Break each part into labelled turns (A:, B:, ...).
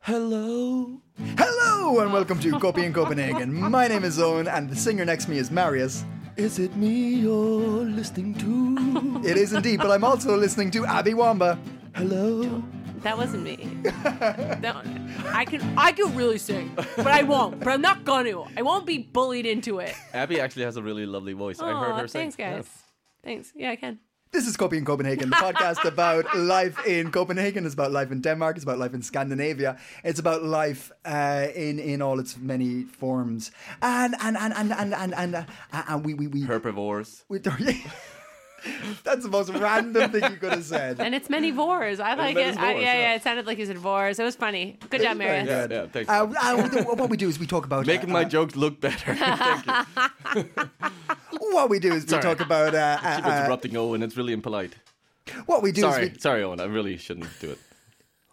A: Hello. Hello and welcome to Copy in Copenhagen. My name is Owen and the singer next to me is Marius.
B: Is it me you're listening to?
A: It is indeed, but I'm also listening to Abby Wamba.
B: Hello?
C: That wasn't me. That- I can I can really sing, but I won't. But I'm not gonna. I won't be bullied into it.
D: Abby actually has a really lovely voice. I heard
C: Aw,
D: her sing.
C: thanks, guys. Thanks. Yeah, I can.
A: This is Copy in Copenhagen, the podcast about life in Copenhagen. It's about life in Denmark. It's about life in Scandinavia. It's about life uh, in in all its many forms. And and and and and and and, uh, and we we we.
D: Yeah. Herbivores.
A: we that's the most random thing you could have said.
C: And it's many vors. I like
D: many
C: it. I,
D: vors,
C: yeah,
D: yeah.
C: yeah. It sounded like you said vors. It was funny. Good job, Marius.
D: Yeah, yeah, thanks.
A: Uh, uh, what we do is we talk about
D: Making
A: uh,
D: my
A: uh,
D: jokes look better. Thank you.
A: What we do is we
D: Sorry.
A: talk about uh, uh,
D: Keep
A: uh,
D: interrupting Owen. It's really impolite.
A: what we do. Is
D: Sorry,
A: we,
D: sorry, Owen. I really shouldn't do it.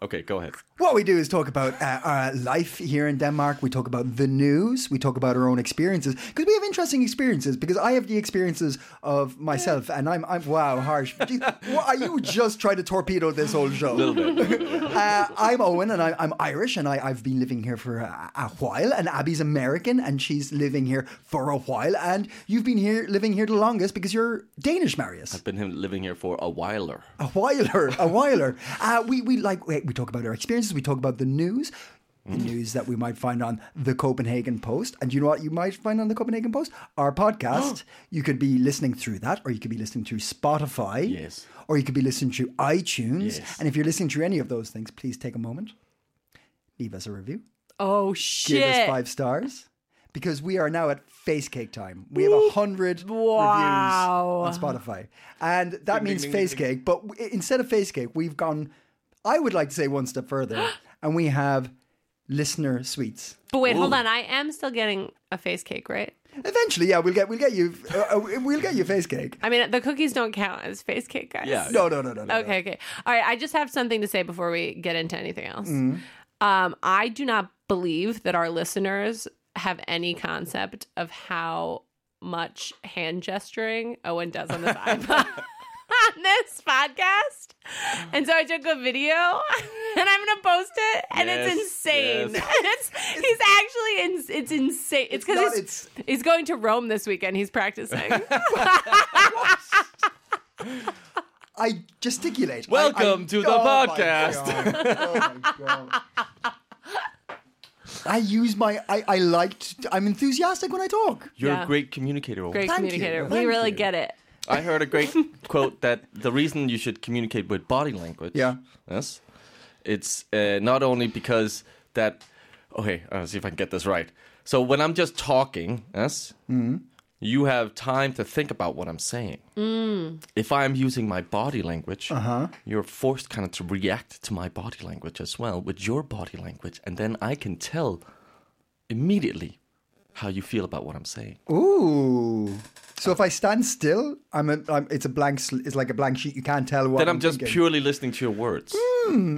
D: Okay, go ahead.
A: What we do is talk about uh, our life here in Denmark. We talk about the news. We talk about our own experiences because we have interesting experiences. Because I have the experiences of myself, and I'm I'm wow harsh. Jeez, what, are you just trying to torpedo this whole show?
D: A little bit.
A: Uh, I'm Owen, and I, I'm Irish, and I, I've been living here for a, a while. And Abby's American, and she's living here for a while. And you've been here living here the longest because you're Danish, Marius.
D: Been him living here for a whiler.
A: A whiler, a whiler. Uh, we we like we, we talk about our experiences. We talk about the news, the
D: Mm-hmm.
A: news that we might find on the Copenhagen Post. And you know what you might find on the Copenhagen Post? Our podcast. you could be listening through that, or you could be listening through Spotify.
D: Yes.
A: Or you could be listening through iTunes.
D: Yes.
A: And if you're listening through any of those things, please take a moment, leave us a review,
C: Oh
A: give
C: shit.
A: us five stars. Because we are now at face cake time. We have a hundred
C: Wow.
A: reviews on Spotify, and that
D: Ding, ding,
A: means
D: ding,
A: face
D: ding.
A: cake. But w- instead of face cake, we've gone. I would like to say one step further, and we have listener sweets.
C: But wait, hold on. I am still getting a face cake, right?
A: Eventually, yeah, we'll get we'll get you uh, uh, we'll get you face cake.
C: I mean, the cookies don't count as face cake, guys.
D: Yeah.
A: No, no, no, no. no,
C: Okay, okay. All right, I just have something to say before we get into anything else. Um, I do not believe that our listeners have any concept of how much hand gesturing Owen does on this iPod. On this podcast, and so I took a video, and I'm gonna post it, and
D: Yes,
C: it's insane.
D: yes.
C: It's, he's actually in, it's insane. It's
A: not-
C: because
A: it's-
C: he's, he's going to Rome this weekend. He's practicing.
A: no. I gesticulate. I- I-
D: Welcome to the
A: Oh my
D: podcast.
A: God. Oh my God. I use my. I, I liked. I'm enthusiastic when I talk.
D: You're
C: Yeah.
D: a great communicator. Owen.
C: Great
A: Thank you.
C: communicator.
A: Thank
C: We really
A: you.
C: get it.
D: I heard a great quote that the reason you should communicate with body language.
A: Yeah.
D: Yes. It's uh, not only because that. Okay, I'll see if I can get this right. So when I'm just talking, yes,
A: Mm-hmm.
D: you have time to think about what I'm saying.
A: Mm.
D: If I'm using my body language,
A: Uh-huh.
D: you're forced kind of to react to my body language as well with your body language, and then I can tell immediately how you feel about what I'm saying.
A: Ooh. So if I stand still, I'm a. I'm, it's a blank. sl- It's like a blank sheet. You can't tell what.
D: then I'm just
A: thinking.
D: purely listening to your words.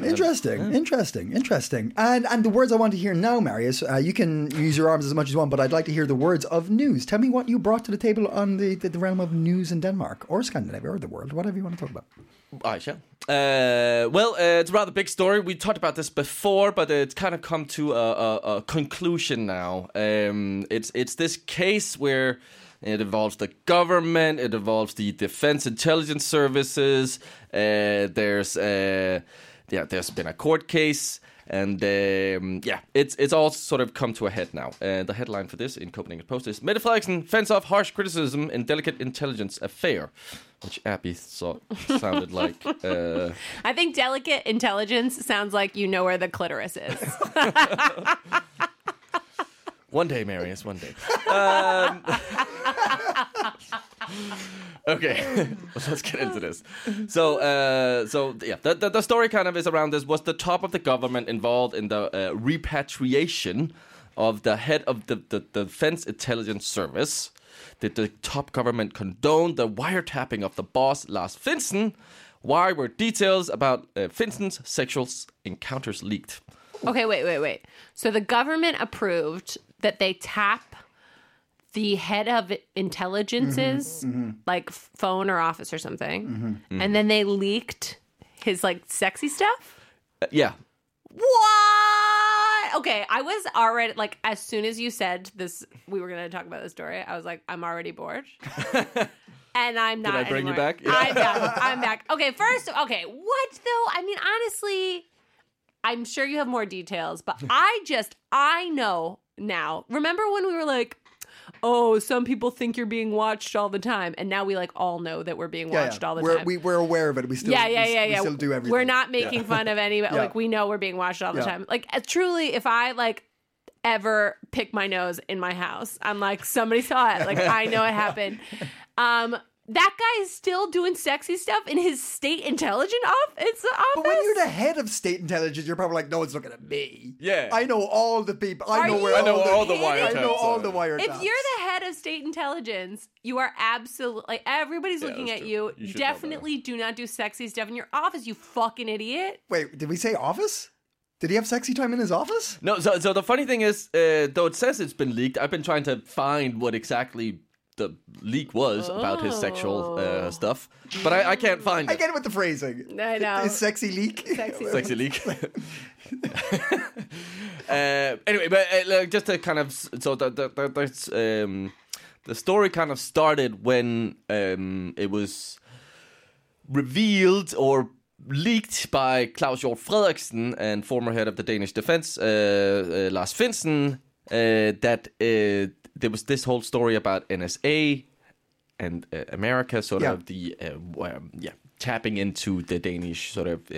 A: Interesting, interesting, interesting. And and the words I want to hear now, Marius. Uh, you can use your arms as much as you want, but I'd like to hear the words of news. Tell me what you brought to the table on the the, the realm of news in Denmark or Scandinavia or the world, whatever you want to talk about.
D: I shall. Ah, Uh, well, uh, it's a rather big story. We talked about this before, but it's kind of come to a, a, a conclusion now. Um, it's it's this case where it involves the government, it involves the defense intelligence services. Uh, there's uh, yeah, there's been a court case, and um, yeah, it's it's all sort of come to a head now. Uh, the headline for this in Copenhagen Post is Mette Frederiksen fends off harsh criticism in delicate intelligence affair, which Abby thought sounded like. Uh,
C: I think delicate intelligence sounds like you know where the clitoris is.
D: One day, Marius, one day. Um, Okay, let's get into this. So, uh, so yeah, the, the, the story kind of is around this. Was the top of the government involved in the uh, repatriation of the head of the, the, the Defense Intelligence Service? Did the top government condone the wiretapping of the boss, Lars Finson? Why were details about uh, Finson's sexual s- encounters leaked?
C: Okay, wait, wait, wait. So the government approved that they tap the head of intelligences, like phone or office or something, and then they leaked his like sexy stuff.
D: Uh, yeah,
C: What? Okay, I was already like, as soon as you said this, we were gonna talk about this story. I was like, I'm already bored. And I'm not.
D: I bring you
C: anymore.
D: back? Yeah.
C: I'm back. I'm back. Okay, first, okay, what though? I mean, honestly, I'm sure you have more details, but I just, I know now. Remember when we were like, oh, some people think you're being watched all the time, and now we like all know that we're being
A: Yeah,
C: watched
A: yeah.
C: all the
A: we're,
C: time
A: We, we're aware of it. We still,
C: yeah, yeah,
A: we,
C: yeah,
A: we
C: yeah.
A: still do everything.
C: We're not making fun of any. Like we know we're being watched all the
A: Yeah.
C: time. Like uh, truly, if I like ever pick my nose in my house, I'm like somebody saw it. Like I know it happened. Um, that guy is still doing sexy stuff in his state intelligence off. It's the office.
A: But when you're the head of state intelligence, you're probably like, no one's looking at me.
D: Yeah.
A: I know all the people. I
C: Are
A: know where
C: you
A: all the,
D: all the
A: I know
D: wiretaps
A: all
D: are.
A: the wiretaps.
C: if you're the head of state intelligence, you are absolutely everybody's
D: Yeah,
C: looking
D: that's
C: at you.
D: true. You should know better.
C: Definitely do not do sexy stuff in your office, you fucking idiot.
A: Wait, did we say office? Did he have sexy time in his office?
D: No, so so the funny thing is, uh, though it says it's been leaked, I've been trying to find what exactly the leak was about his sexual uh, stuff, but I, I can't find
A: I
D: it.
A: get it with the phrasing.
C: I know.
A: Is sexy leak?
C: Sexy.
D: Sexy leak. uh, anyway, but uh, like, just to kind of s- so the the the, that's, um, the story kind of started when um, it was revealed or leaked by Klaus Jord Frederiksen and former head of the Danish defense, uh, uh, Lars Finsen, uh, that uh, there was this whole story about NSA and uh, America, sort
A: Yeah.
D: of the uh, w- um, yeah tapping into the Danish sort of uh,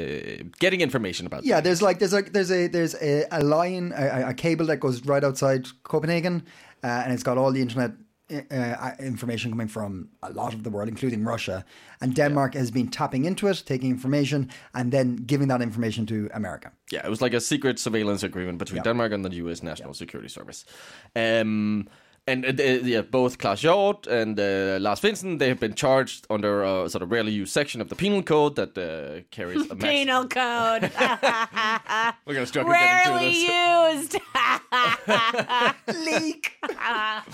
D: getting information about
A: Yeah, there's like there's like there's a there's a, a line a, a cable that goes right outside Copenhagen, uh, and it's got all the internet uh, uh, information coming from a lot of the world, including Russia, and Denmark has been tapping into it, taking information, and then giving that information to America.
D: Yeah, it was like a secret surveillance agreement between Denmark and the U.S. National Security Service. Um, and uh, they- yeah, both Klaus Jort and uh, Lars Finsen, they have been charged under a sort of rarely used section of the penal code that uh, carries a max-
C: Penal code.
D: We're gonna struggle getting through
C: Rarely
D: this.
C: used.
A: Leak.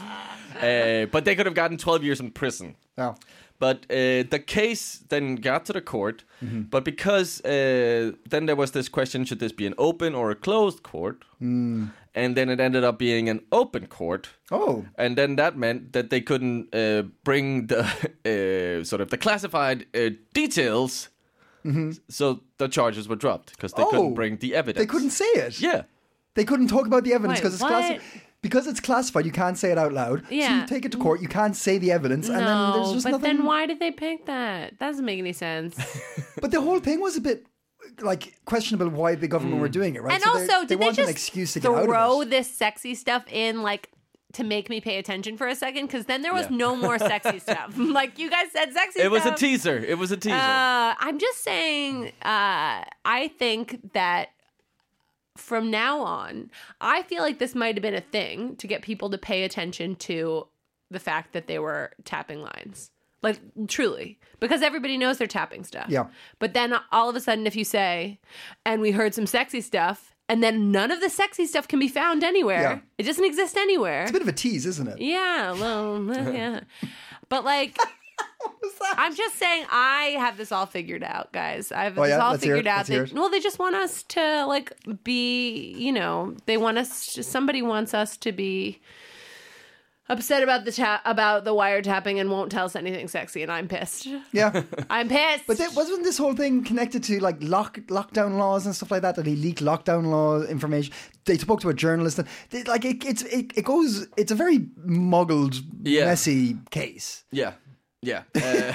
D: Uh, but they could have gotten 12 years in prison.
A: Oh.
D: But uh, the case then got to the court,
A: Mm-hmm.
D: but because uh, then there was this question: should this be an open or a closed court? And then it ended up being an open court.
A: Mm. Oh.
D: And then that meant that they couldn't uh, bring the uh, sort of the classified uh, details. So the charges were dropped because they
A: Mm-hmm. Oh.
D: couldn't bring the evidence.
A: They couldn't say it.
D: Yeah.
A: They couldn't talk about the evidence
C: Wait,
A: because it's
C: what?
A: classified. Because it's classified, you can't say it out loud. So
C: Yeah.
A: you take it to court. You can't say the evidence, and then there's
C: No,
A: just
C: but
A: nothing.
C: then why did they pick that? That doesn't make any sense.
A: But the whole thing was a bit like questionable why the government were doing it, right?
C: and
A: So
C: also, did they
A: want
C: just
A: an excuse to
C: throw
A: get out of it.
C: this sexy stuff in like to make me pay attention for a second? Because then there was no more sexy stuff. like you guys said, sexy.
D: It was a
C: stuff.
D: teaser. It was a teaser.
C: Um, Uh, I'm just saying. Uh, I think that from now on, I feel like this might have been a thing to get people to pay attention to the fact that they were tapping lines. Like truly, because everybody knows they're tapping stuff.
A: Yeah.
C: But then all of a sudden, if you say, and we heard some sexy stuff, and then none of the sexy stuff can be found anywhere,
A: Yeah.
C: it doesn't exist anywhere.
A: It's a bit of a tease, isn't it?
C: Yeah, well, yeah. But like, I'm just saying, I have this all figured out, guys. I have
A: Oh,
C: this
A: yeah?
C: all
A: Let's hear it.
C: figured out.
A: Let's hear
C: They-
A: it.
C: well, they just want us to like be, you know, they want us. Somebody wants us to be upset about the ta- about the wiretapping and won't tell us anything sexy, and I'm pissed.
A: Yeah.
C: I'm pissed.
A: But that, wasn't this whole thing connected to like lock, lockdown laws and stuff like that? That he leaked lockdown law information. They spoke to a journalist and they, like it, it's it, it goes. It's a very muggled,
D: Yeah.
A: messy case.
D: yeah. Yeah. Uh,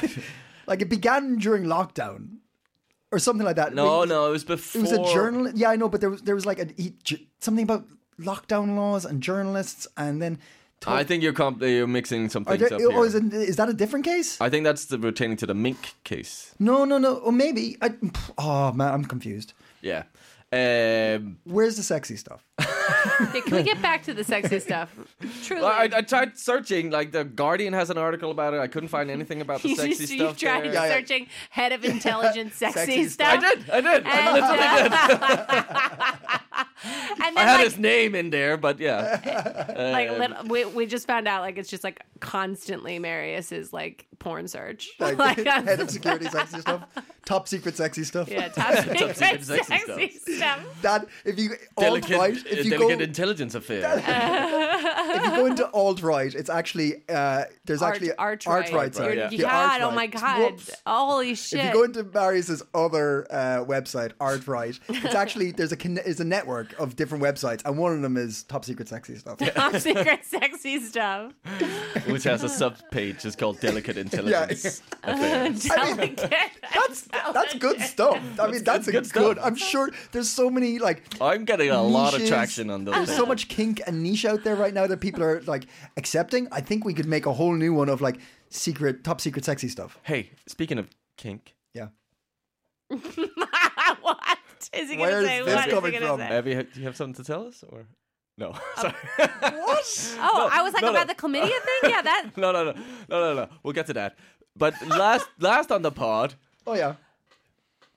A: Like it began during lockdown or something like that.
D: no,
A: We-
D: no, it was before.
A: It was a journalist. Yeah, I know, but there was there was like a, he, j- something about lockdown laws and journalists, and then
D: I think you're comp- you're mixing some
A: Are
D: things
A: there,
D: up
A: oh,
D: here.
A: is, it, is that a different case?
D: I think that's the pertaining to the mink case.
A: No, no, no. Or maybe. I, oh, man, I'm confused.
D: Yeah. Um,
A: Where's the sexy stuff?
C: Okay, can we get back to the sexy stuff? Truly.
D: well, I, I tried searching. Like the Guardian has an article about it. I couldn't find anything about the
C: you
D: sexy
C: just, you
D: stuff.
C: tried
D: there.
A: yeah.
C: searching head of intelligence sexy,
A: Sexy
C: stuff.
A: stuff.
D: I did. I did. I,
C: And,
D: literally did.
C: uh, and
D: I
C: then like,
D: had
C: Uh,
D: his name in there, but yeah.
C: like little, we, we just found out like it's just like constantly Marius is like porn search. Like,
A: Head of security sexy stuff. Top secret sexy stuff.
C: yeah, top secret
D: secret
C: sexy,
D: sexy
C: stuff.
A: That if you alt
D: Delicate,
A: right,
D: uh,
A: if you go
D: delicate intelligence affair.
A: if you go into alt right, it's actually uh, there's
C: Art,
A: actually
C: arch
A: art right.
C: You're-
A: Sorry,
D: yeah.
C: God,
A: The art
C: oh my
A: right.
C: God.
A: Whoops.
C: Holy shit.
A: If you go into Marius's other uh, website, Artright, it's actually there's a conne- is a network of different websites, and one of them is top secret sexy stuff.
C: top secret sexy stuff.
D: which has a sub page. It's called Delicate Intelligence Affair.
C: Delicate.
A: That's that's
C: Oh,
A: good stuff. I mean, that's, a
D: good
A: good.
D: stuff.
A: I'm sure there's so many like
D: I'm getting a lot of
A: niches.
D: traction on those.
A: There's so
D: things.
A: much kink and niche out there right now that people are like accepting. I think we could make a whole new one of like secret, top secret, sexy stuff.
D: Hey, speaking of kink,
A: Yeah.
C: what is he going
A: Where
C: to
A: is
C: say?
A: this
C: What is
A: coming
C: he going to
A: from?
C: say?
D: Abby, ha- do you have something to tell us or no?
C: Um,
D: Sorry.
C: Oh, I was like
D: no, no.
C: about the chlamydia thing. Yeah, that
D: no, no, no, no, no, no. We'll get to that. But last, last on the pod,
A: Oh yeah.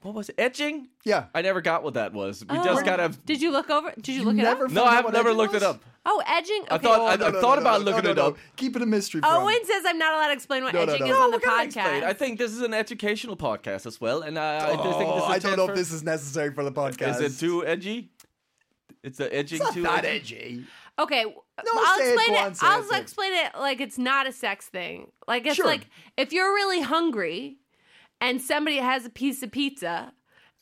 D: what was it? etching?
A: Yeah.
D: I never got what that was.
C: Oh,
D: We just kind of.
C: Did you look over? Did you, look it
A: never
C: up?
A: f-
D: No,
A: find out
D: I've
A: what
D: never
A: edging
D: looked it
A: was?
D: up.
C: Oh, edging. Okay.
D: I thought I,
A: No,
D: I've
A: no,
D: thought
A: no,
D: about
A: no,
D: looking
A: no,
D: it
A: no.
D: up.
A: Keep it a mystery. for
C: Owen
A: him.
C: says I'm not allowed to explain what
A: No, no,
C: edging
A: no.
C: is
A: No,
C: on the
D: We're gonna
C: podcast.
D: explain. I think this is an educational podcast as well, and uh, I, I do think this
A: Oh,
D: is
A: I
D: a
A: don't
D: chance
A: know
D: for-
A: if this is necessary for the podcast.
D: Is it too edgy? It's the edging
A: It's
D: too
A: not that edgy.
C: okay, no, I'll
A: say it,
C: explain
A: go
C: it.
A: on, say
C: I'll
A: it, say it.
C: explain it like it's not a sex thing. Like it's
A: Sure.
C: like if you're really hungry and somebody has a piece of pizza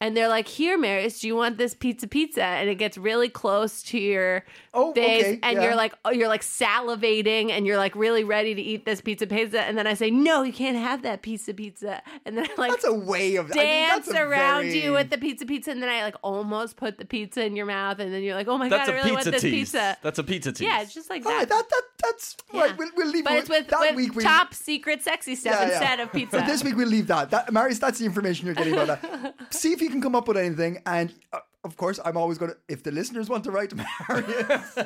C: and they're like, "Here, Marius, do you want this pizza pizza?" and it gets really close to your
A: Oh,
C: face
A: okay,
C: and
A: yeah.
C: you're like, oh, you're like salivating and you're like really ready to eat this pizza pizza and then I say, "No, you can't have that pizza pizza." And then I like
A: That's a way of I mean,
C: dance
A: that's a
C: around
A: very-
C: you with the pizza pizza and then I like almost put the pizza in your mouth and then you're like, Oh my
D: That's
C: god, I
D: a
C: really want
D: pizza
C: this
D: tease.
C: pizza.
D: That's a pizza tease.
C: yeah, it's just like
A: All right,
C: that.
A: that that that's
C: Yeah.
A: right. We'll, we'll leave
C: but
A: it
C: it's with,
A: that
C: with
A: week. we-
C: top secret sexy stuff
A: Yeah, yeah.
C: instead of pizza.
A: But this week we leave that. That Marius, that's the information you're getting about that. See if you can come up with anything. And uh, of course, I'm always going to. If the listeners want to write to Marius,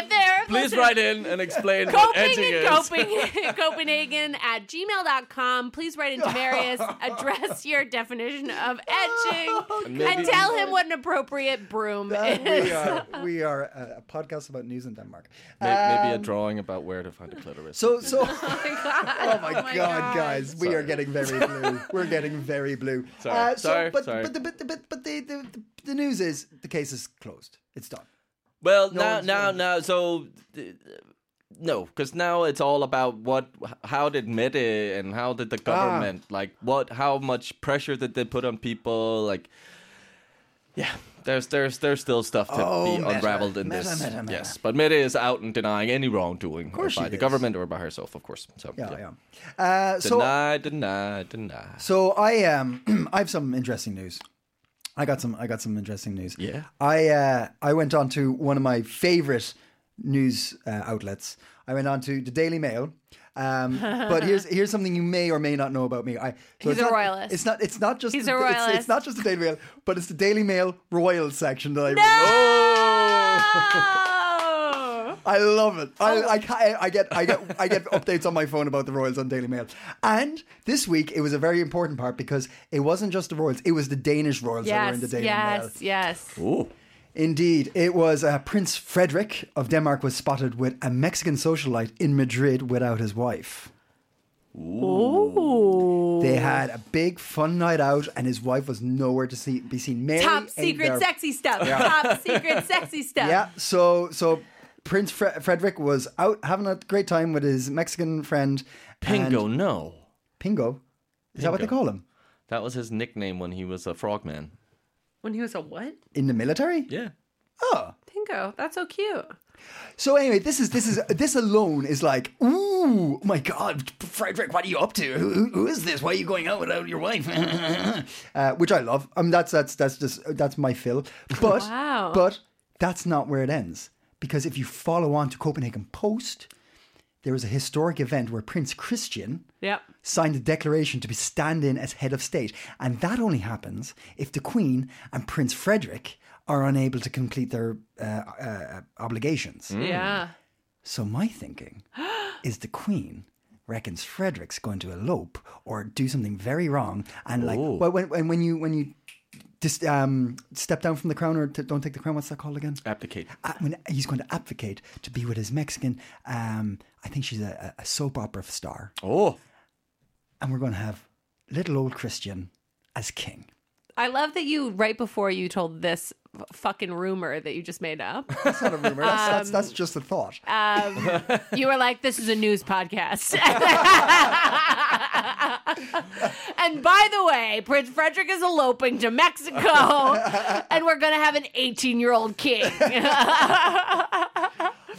C: if they're
D: Please
C: listening-
D: write in and explain what
C: Coping
D: edging
C: in
D: is.
C: Copenhagen, Copenhagen at gmail.com. Please write into Marius, address your definition of etching, and,
D: maybe-
C: tell him what an appropriate broom
A: Oh, that
C: is.
A: uh, we are we are a, a podcast about news in Denmark. Uh,
D: May- Maybe a drawing about where to find a clitoris.
A: Um, So so.
C: Oh my god,
A: Oh my, god, guys, we are getting very blue. We're getting very blue. Uh,
D: Sorry,
A: so-
D: sorry,
A: but,
D: sorry.
A: But, the, but, the, but, but the, the, the, the news is the case is closed. It's done.
D: well,
A: No
D: now,
A: one's
D: now,
A: gonna-
D: now. So th- no, because now it's all about what, how did Mette and how did the
A: Ah.
D: government like what, how much pressure did they put on people? Like, yeah, there's, there's, there's still stuff to
A: Oh,
D: be
A: Mette.
D: unraveled in
A: Mette,
D: this.
A: Mette, Mette.
D: Yes, but Mette is out and denying any wrongdoing
A: course
D: by
A: she
D: the
A: is.
D: government or by herself, of course. So
A: Yeah, yeah. Uh, so,
D: deny, deny, deny.
A: so I um, I have some interesting news. I got some. I got some interesting news.
D: Yeah.
A: I uh, I went on to one of my favorite news uh, outlets. I went on to the Daily Mail. Um, but here's here's something you may or may not know about me. I, so
C: He's
A: it's
C: a
A: not,
C: royalist.
A: It's not. It's not just.
C: He's
A: the-
C: a
A: it's- It's,
C: royalist.
A: not just the Daily Mail, but it's the Daily Mail royal section that I. read.
C: Oh!
A: I love it. I, I, ca- I get I get I get updates on my phone about the Royals on Daily Mail. And this week it was a very important part because it wasn't just the Royals; it was the Danish Royals that were in the
C: yes,
A: Daily Mail.
C: yes, yes.
A: Indeed, it was uh, Prince Frederick of Denmark was spotted with a Mexican socialite in Madrid without his wife. Ooh. They had a big fun night out, and his wife was nowhere to see, be seen. Mary
C: Top
A: ain't
C: secret
A: there.
C: sexy stuff. Top secret sexy stuff.
A: Yeah. So so Prince Fre- Frederick was out having a great time with his Mexican friend and-
D: Pingo, no,
A: Pingo. Is that what they
D: Pingo.
A: call him
D: that was his nickname when he was a frogman.
C: When he was a what?
A: in the military?
D: Yeah.
A: Oh.
C: Pingo. That's so cute.
A: So anyway, this is this is this alone is like, ooh, my God, Frederick, what are you up to? Who, who- who is this? Why are you going out without your wife? uh, which I love. Um, that's that's that's just that's my fill. But
C: Wow.
A: but that's not where it ends because if you follow on to Copenhagen Post, there was a historic event where Prince Christian
C: Yep.
A: signed a declaration to be stand in as head of state. And that only happens if the Queen and Prince Frederick are unable to complete their uh, uh, obligations.
C: Hmm? Yeah.
A: So my thinking is the Queen reckons Frederick's going to elope or do something very wrong, and like well, when when when you when you dis, um, step down from the crown or t- don't take the crown, what's that called again?
D: Abdicate.
A: Uh, when he's going to abdicate to be with his Mexican, um, I think she's a, a soap opera star,
D: Oh,
A: and we're going to have little old Christian as king.
C: I love that you right before you told this f- fucking rumor that you just made up.
A: That's not a rumor. That's, that's, that's just a thought.
D: uh,
C: Um, you were like, "This is a news podcast." and by the way, Prince Frederick is eloping to Mexico, and we're gonna have an 18-year-old king.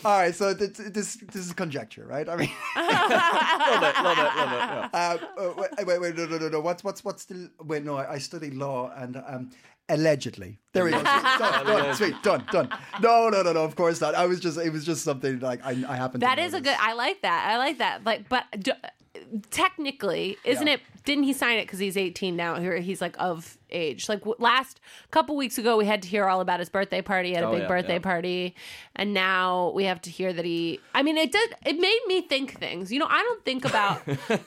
A: All right, so th- th- this this is conjecture, right? I mean,
D: love it, love it, love it. yeah.
A: uh, uh, wait, wait, wait, no, no, no, no. What's what's what's the? Wait, no, I, I study law and um, allegedly. There we go. Sweet, done, done, sweet, done, done. No, no, no, no. Of course not. I was just, it was just something like I, I happened.
C: that
A: to
C: is a
A: notice.
C: good. I like that. I like that. Like, but d- technically, isn't it? Didn't he sign it because he's 18 now? Here he's like of age. Like w- last couple weeks ago, we had to hear all about his birthday party at a
D: Oh,
C: big
D: yeah,
C: birthday
D: yeah.
C: party, and now we have to hear that he. I mean, it did. It made me think things. You know, I don't think about.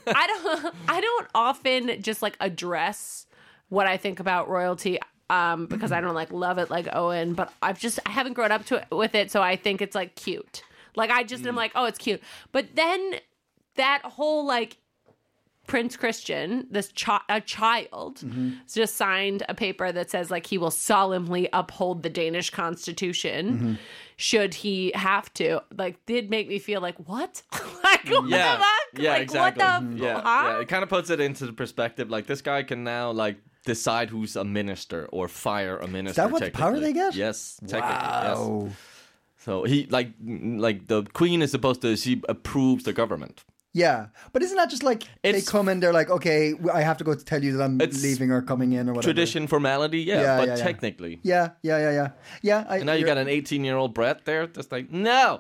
C: I don't. I don't often just like address what I think about royalty. Um, because I don't like love it like Owen, but I've just I haven't grown up to it with it, so I think it's like cute. Like I just
D: Mm.
C: am like, oh, it's cute. But then that whole like Prince Christian, this chi- a child, just signed a paper that says like he will solemnly uphold the Danish Constitution, should he have to. Like, did make me feel like what? like what
D: Yeah,
C: the fuck?
D: yeah,
C: like
D: exactly. Mm-hmm.
C: what the
D: yeah,
C: huh?
D: yeah, it kind of puts it into the perspective. Like this guy can now like decide who's a minister or fire a minister.
A: what the power
D: technically.
A: they get?
D: Yes, technically. Yes.
A: Wow.
D: So he like like the queen is supposed to she approves the government.
A: Yeah, but isn't that just like they
D: It's-
A: come and they're like, okay, w- I have to go to tell you that I'm
D: It's
A: leaving or coming in or whatever.
D: Tradition, formality, yeah,
A: Yeah,
D: but
A: yeah, yeah.
D: technically.
A: Yeah, yeah, yeah, yeah, yeah. I,
D: And now you
A: you're-
D: got an 18 year old brat there just like, no!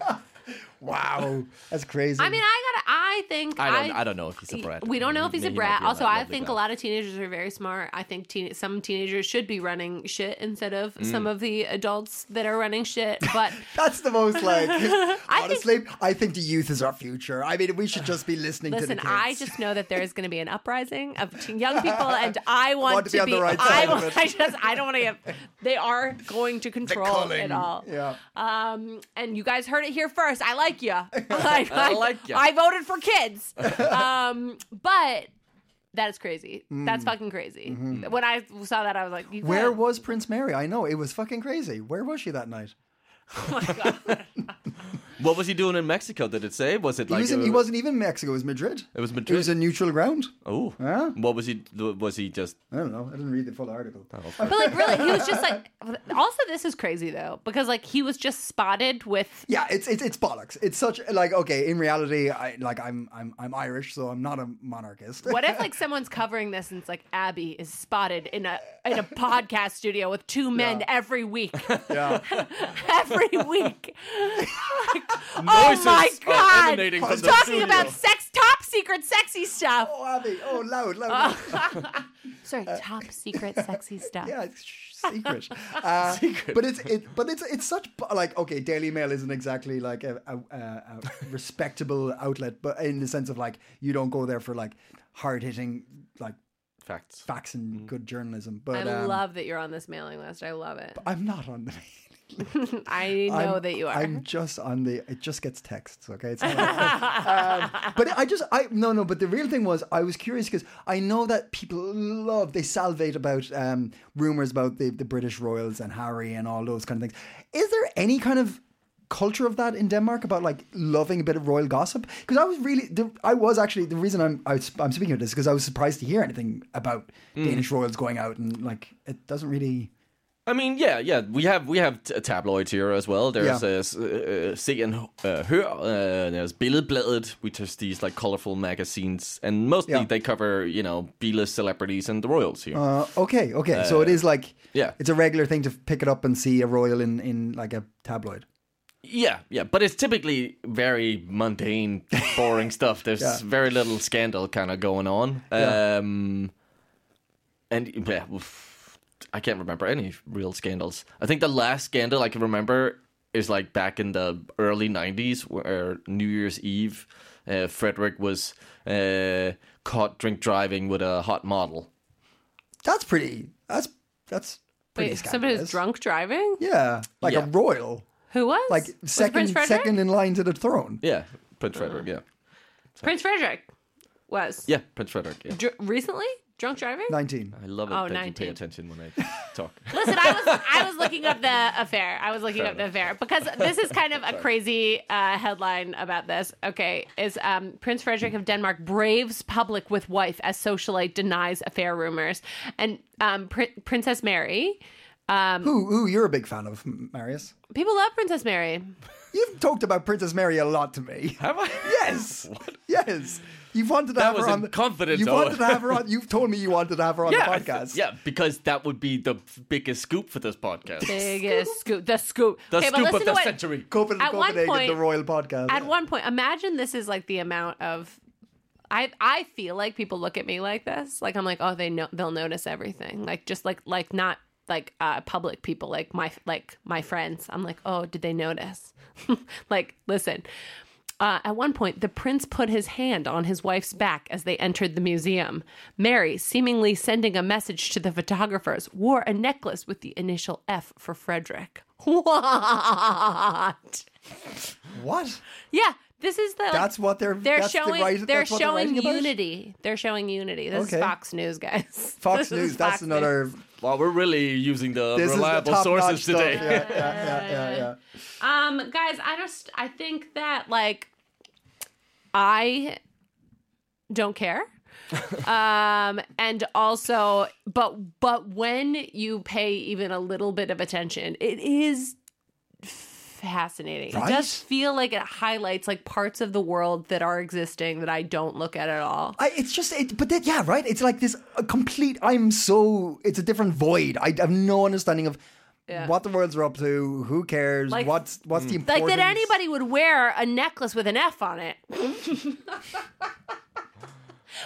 A: wow. That's crazy.
C: I mean, I gotta. I think
D: I don't- I don't know if he's a brat.
C: We don't know if he's
D: He
C: a
D: might
C: brat.
D: be a
C: Also,
D: lovely
C: I think
D: guy.
C: a lot of teenagers are very smart. I think teen- some teenagers should be running shit instead of
D: Mm.
C: some of the adults that are running shit. But
A: that's the most like.
C: think-
A: honestly, I think the youth is our future. I mean, we should just be listening to
C: Listen,
A: the kids.
C: I just know that there is going to be an uprising of teen- young people, and I want,
A: want to be on the right
C: I,
A: side of it.
C: I just, I don't want to get. They are going to control it all.
A: Yeah.
C: Um, and you guys heard it here first. I like you. I,
D: like ya.
C: I voted for kids. um, but that is crazy. That's fucking crazy. When I saw that, I was like, you
A: Mm. Mm-hmm. Where
C: guys-
A: was Prince Mary? I know it was fucking crazy. Where was she that night?
D: What was he doing in Mexico? Did it say? Was it
A: He,
D: like.
A: was in,
D: uh,
A: he wasn't even Mexico. It was Madrid.
D: It was
A: It was
D: Madrid.
A: a neutral ground.
D: Oh.
A: Yeah.
D: What was he. Was he just.
A: I don't know. I didn't read the full article.
D: Oh.
C: But like, really, he was just like. Also, this is crazy though, because like he was just spotted with
A: Yeah, it's, it's it's bollocks. It's such like okay. In reality, I like I'm I'm I'm Irish, so I'm not a monarchist.
C: What if like someone's covering this and it's like Abby is spotted in a in a podcast studio with two men every week,
A: Yeah.
C: every week. Like, oh my
D: Noises are
C: god!
D: emanating from the
C: Talking
D: studio.
C: about sex, top secret, sexy stuff.
A: Oh, Abby. Oh, loud,
C: Uh,
A: loud. loud.
C: Sorry, top secret, sexy stuff.
A: Yeah, it's sh- secret. Uh, secret. But it's it. But it's it's such bu- like okay. Daily Mail isn't exactly like a, a, a, a respectable outlet, but in the sense of like you don't go there for like hard hitting like
D: Facts.
A: facts and good journalism.
C: I
A: But um,
C: love that you're on this mailing list. I love it.
A: I'm not on the.
C: I know
A: I'm-
C: that you are.
A: I'm just on the. It just gets texts. Okay, it's not um, but I just I no no. But the real thing was I was curious because I know that people love they salivate about um, rumors about the the British royals and Harry and all those kind of things. Is there any kind of culture of that in Denmark about like loving a bit of royal gossip? Because I was really the, I was actually the reason I'm I was, I'm speaking of this because I was surprised to hear anything about Danish royals going out and like it doesn't really.
D: I mean, yeah, yeah. We have we have t- uh, tabloids here as well. There's
A: Yeah.
D: uh, s- uh, Se and uh, Hør. Uh, there's Billedbladet, which is these like colorful magazines, and mostly
A: Yeah.
D: they cover you know B-list celebrities and the royals here.
A: Uh, okay, okay. so it is like
D: yeah.
A: it's a regular thing to f- pick it up and see a royal in in like a tabloid.
D: Yeah, yeah, but it's typically very mundane, boring stuff. There's
A: Yeah.
D: very little scandal kind of going on.
A: Yeah.
D: Um, and yeah, oof, I can't remember any real scandals. I think the last scandal I can remember is like back in the early '90s, where New Year's Eve, uh, Frederick was uh, caught drink driving with a hot model.
A: That's pretty. That's that's pretty.
C: Wait, somebody was
A: scandalous.
C: drunk driving?
A: Yeah, like
D: Yeah.
A: a royal,
C: Who was?
A: like
C: Was it
A: second
C: Prince Frederick?
A: second in line to the throne.
D: Yeah, Prince Frederick. Yeah,
C: Prince Frederick was.
D: yeah, Prince Frederick. Yeah.
C: Dr- recently? Drunk driving?
A: Nineteen.
D: I love it
C: Oh,
D: that you
C: 19.
D: pay attention when I talk.
C: Listen, I was I was looking up the affair. I was looking up the affair because this is kind of a crazy uh, headline about this. Okay, is um, Prince Frederick of Denmark braves public with wife as socialite denies affair rumors, and um, Prin- Princess Mary.
A: Who who you're a big fan of, M- Marius?
C: People love Princess Mary.
A: You've talked about Princess Mary a lot to me.
D: Have I?
A: Yes. Yes. You've wanted to
D: That
A: have
D: was
A: her on the
D: confident,
A: You
D: though.
A: wanted to have her on. You've told me you wanted to have her on
D: I
A: the
D: th-
A: podcast.
D: yeah, because that would be the f- biggest scoop for this podcast.
C: Biggest scoop, the scoop,
D: The
C: Okay, but
D: scoop
C: listen
D: of
C: to
D: the
C: what-
D: century.
A: Copenhagen,
C: At one
A: Copenhagen
C: point-
A: the royal podcast.
C: At one point, imagine this is like the amount of. I I feel like people look at me like this. Like I'm like, oh, they know they'll notice everything. Like just like like not like uh public people like my like my friends. I'm like, oh, did they notice? like listen. Uh, at one point, the prince put his hand on his wife's back as they entered the museum. Mary, seemingly sending a message to the photographers, wore a necklace with the initial F for Frederick. What?
A: What?
C: Yeah, this is the. like,
A: That's what they're-
C: They're
A: that's the
C: showing.
A: right-
C: they're
A: that's what they're
C: showing
A: writing about?
C: unity. They're showing unity. This
A: Okay.
C: is Fox News, guys.
A: Fox
C: This is
A: News. That's
C: Fox News.
A: another.
D: Wow, we're really using the
A: This
D: reliable
A: is the top-notch
D: sources
A: stuff.
D: today.
A: Yeah, yeah, yeah, yeah, yeah.
C: Um, guys, I just I think that like I don't care. um and also but but when you pay even a little bit of attention it is fascinating
A: Right?
C: it does feel like it highlights like parts of the world that are existing that i don't look at at all
A: I, it's just, it, but that, yeah, right. It's like this a complete. I'm so. It's a different void. I have no understanding of
C: Yeah.
A: what the worlds are up to. Who cares?
C: Like-
A: what's what's
D: Hmm.
A: the
C: like
A: importance?
C: that anybody would wear a necklace with an F on it.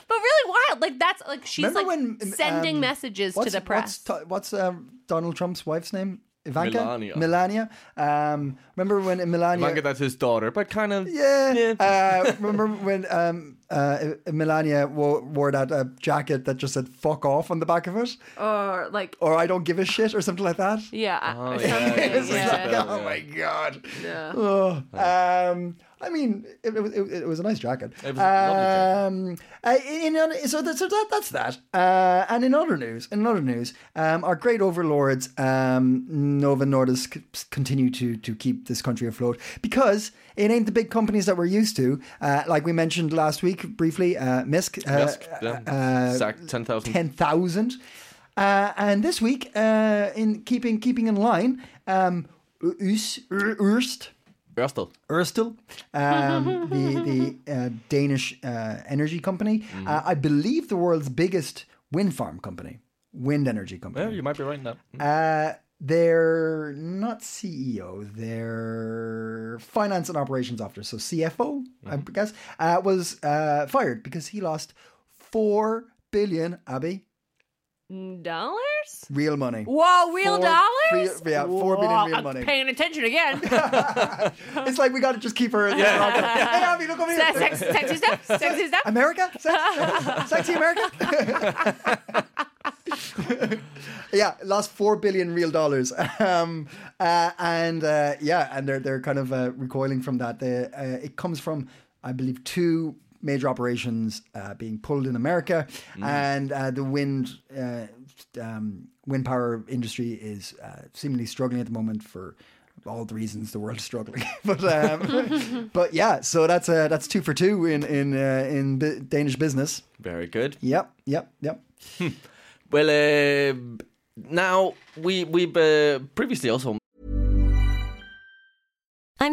C: but really wild. Like that's like she's
A: Remember
C: like
A: when, um,
C: sending messages to
A: What's-
C: the press.
A: What's, to- what's um, Donald Trump's wife's name? Ivanka.
D: Melania.
A: Melania. Um, remember when Melania?
D: Manga, that's his daughter, but kind of.
A: Yeah. Uh, remember when um, uh, Melania wore, wore that uh, jacket that just said "fuck off" on the back of it,
C: or like
A: or "I don't give a shit" or something like that?
C: yeah, I-
D: Oh,
C: or
D: yeah,
C: something,
D: yeah,
A: It's
D: yeah.
A: like,
C: yeah.
A: oh my god.
C: Yeah.
A: Oh, um, I mean, it, it, was- it, it was a nice jacket.
D: It was a lovely jacket.
A: Um, uh, in, in, so that, so that, that's that. Uh, and in other news, in other news, um, our great overlords, um, Nova Nordisk, c- continue to to keep this country afloat because it ain't the big companies that we're used to. Uh, like we mentioned last week briefly, uh, Misk, uh,
D: Yes, yeah. Sacked 10,000.
A: ten thousand. Uh, and this week, uh, in keeping keeping in line, um, Urs, Urst,
D: Russell.
A: Ørsted, um, the the uh, Danish uh, energy company, uh, I believe the world's biggest wind farm company, wind energy
D: Yeah,
A: company.
D: you might be right now.
A: Uh, they're not CEO, they're finance and operations officer, so CFO, I guess, uh, was uh, fired because he lost four billion Abby
C: Mm, Dollars?
A: real money.
C: Whoa, real
A: Four-
C: dollars?
A: three- yeah, four billion
C: Whoa,
A: real
C: I'm
A: money.
C: Paying attention again.
A: It's like we got to just keep her. In the locker. Hey, Abby, look over here.
C: Sex- sexy stuff. Sexy stuff.
A: America? Sex- Sexy America? yeah, lost four billion real dollars, um, uh, and uh, yeah, and they're they're kind of uh, recoiling from that. They, uh, it comes from, I believe, two major operations uh, being pulled in America, and uh, the wind uh, um, wind power industry is uh, seemingly struggling at the moment for all the reasons the world's struggling. but um, but yeah, so that's uh, that's two for two in in uh, in bu- Danish business.
D: Very good.
A: Yep, yep, yep.
D: Well, uh, now we we've uh, previously also
E: I'm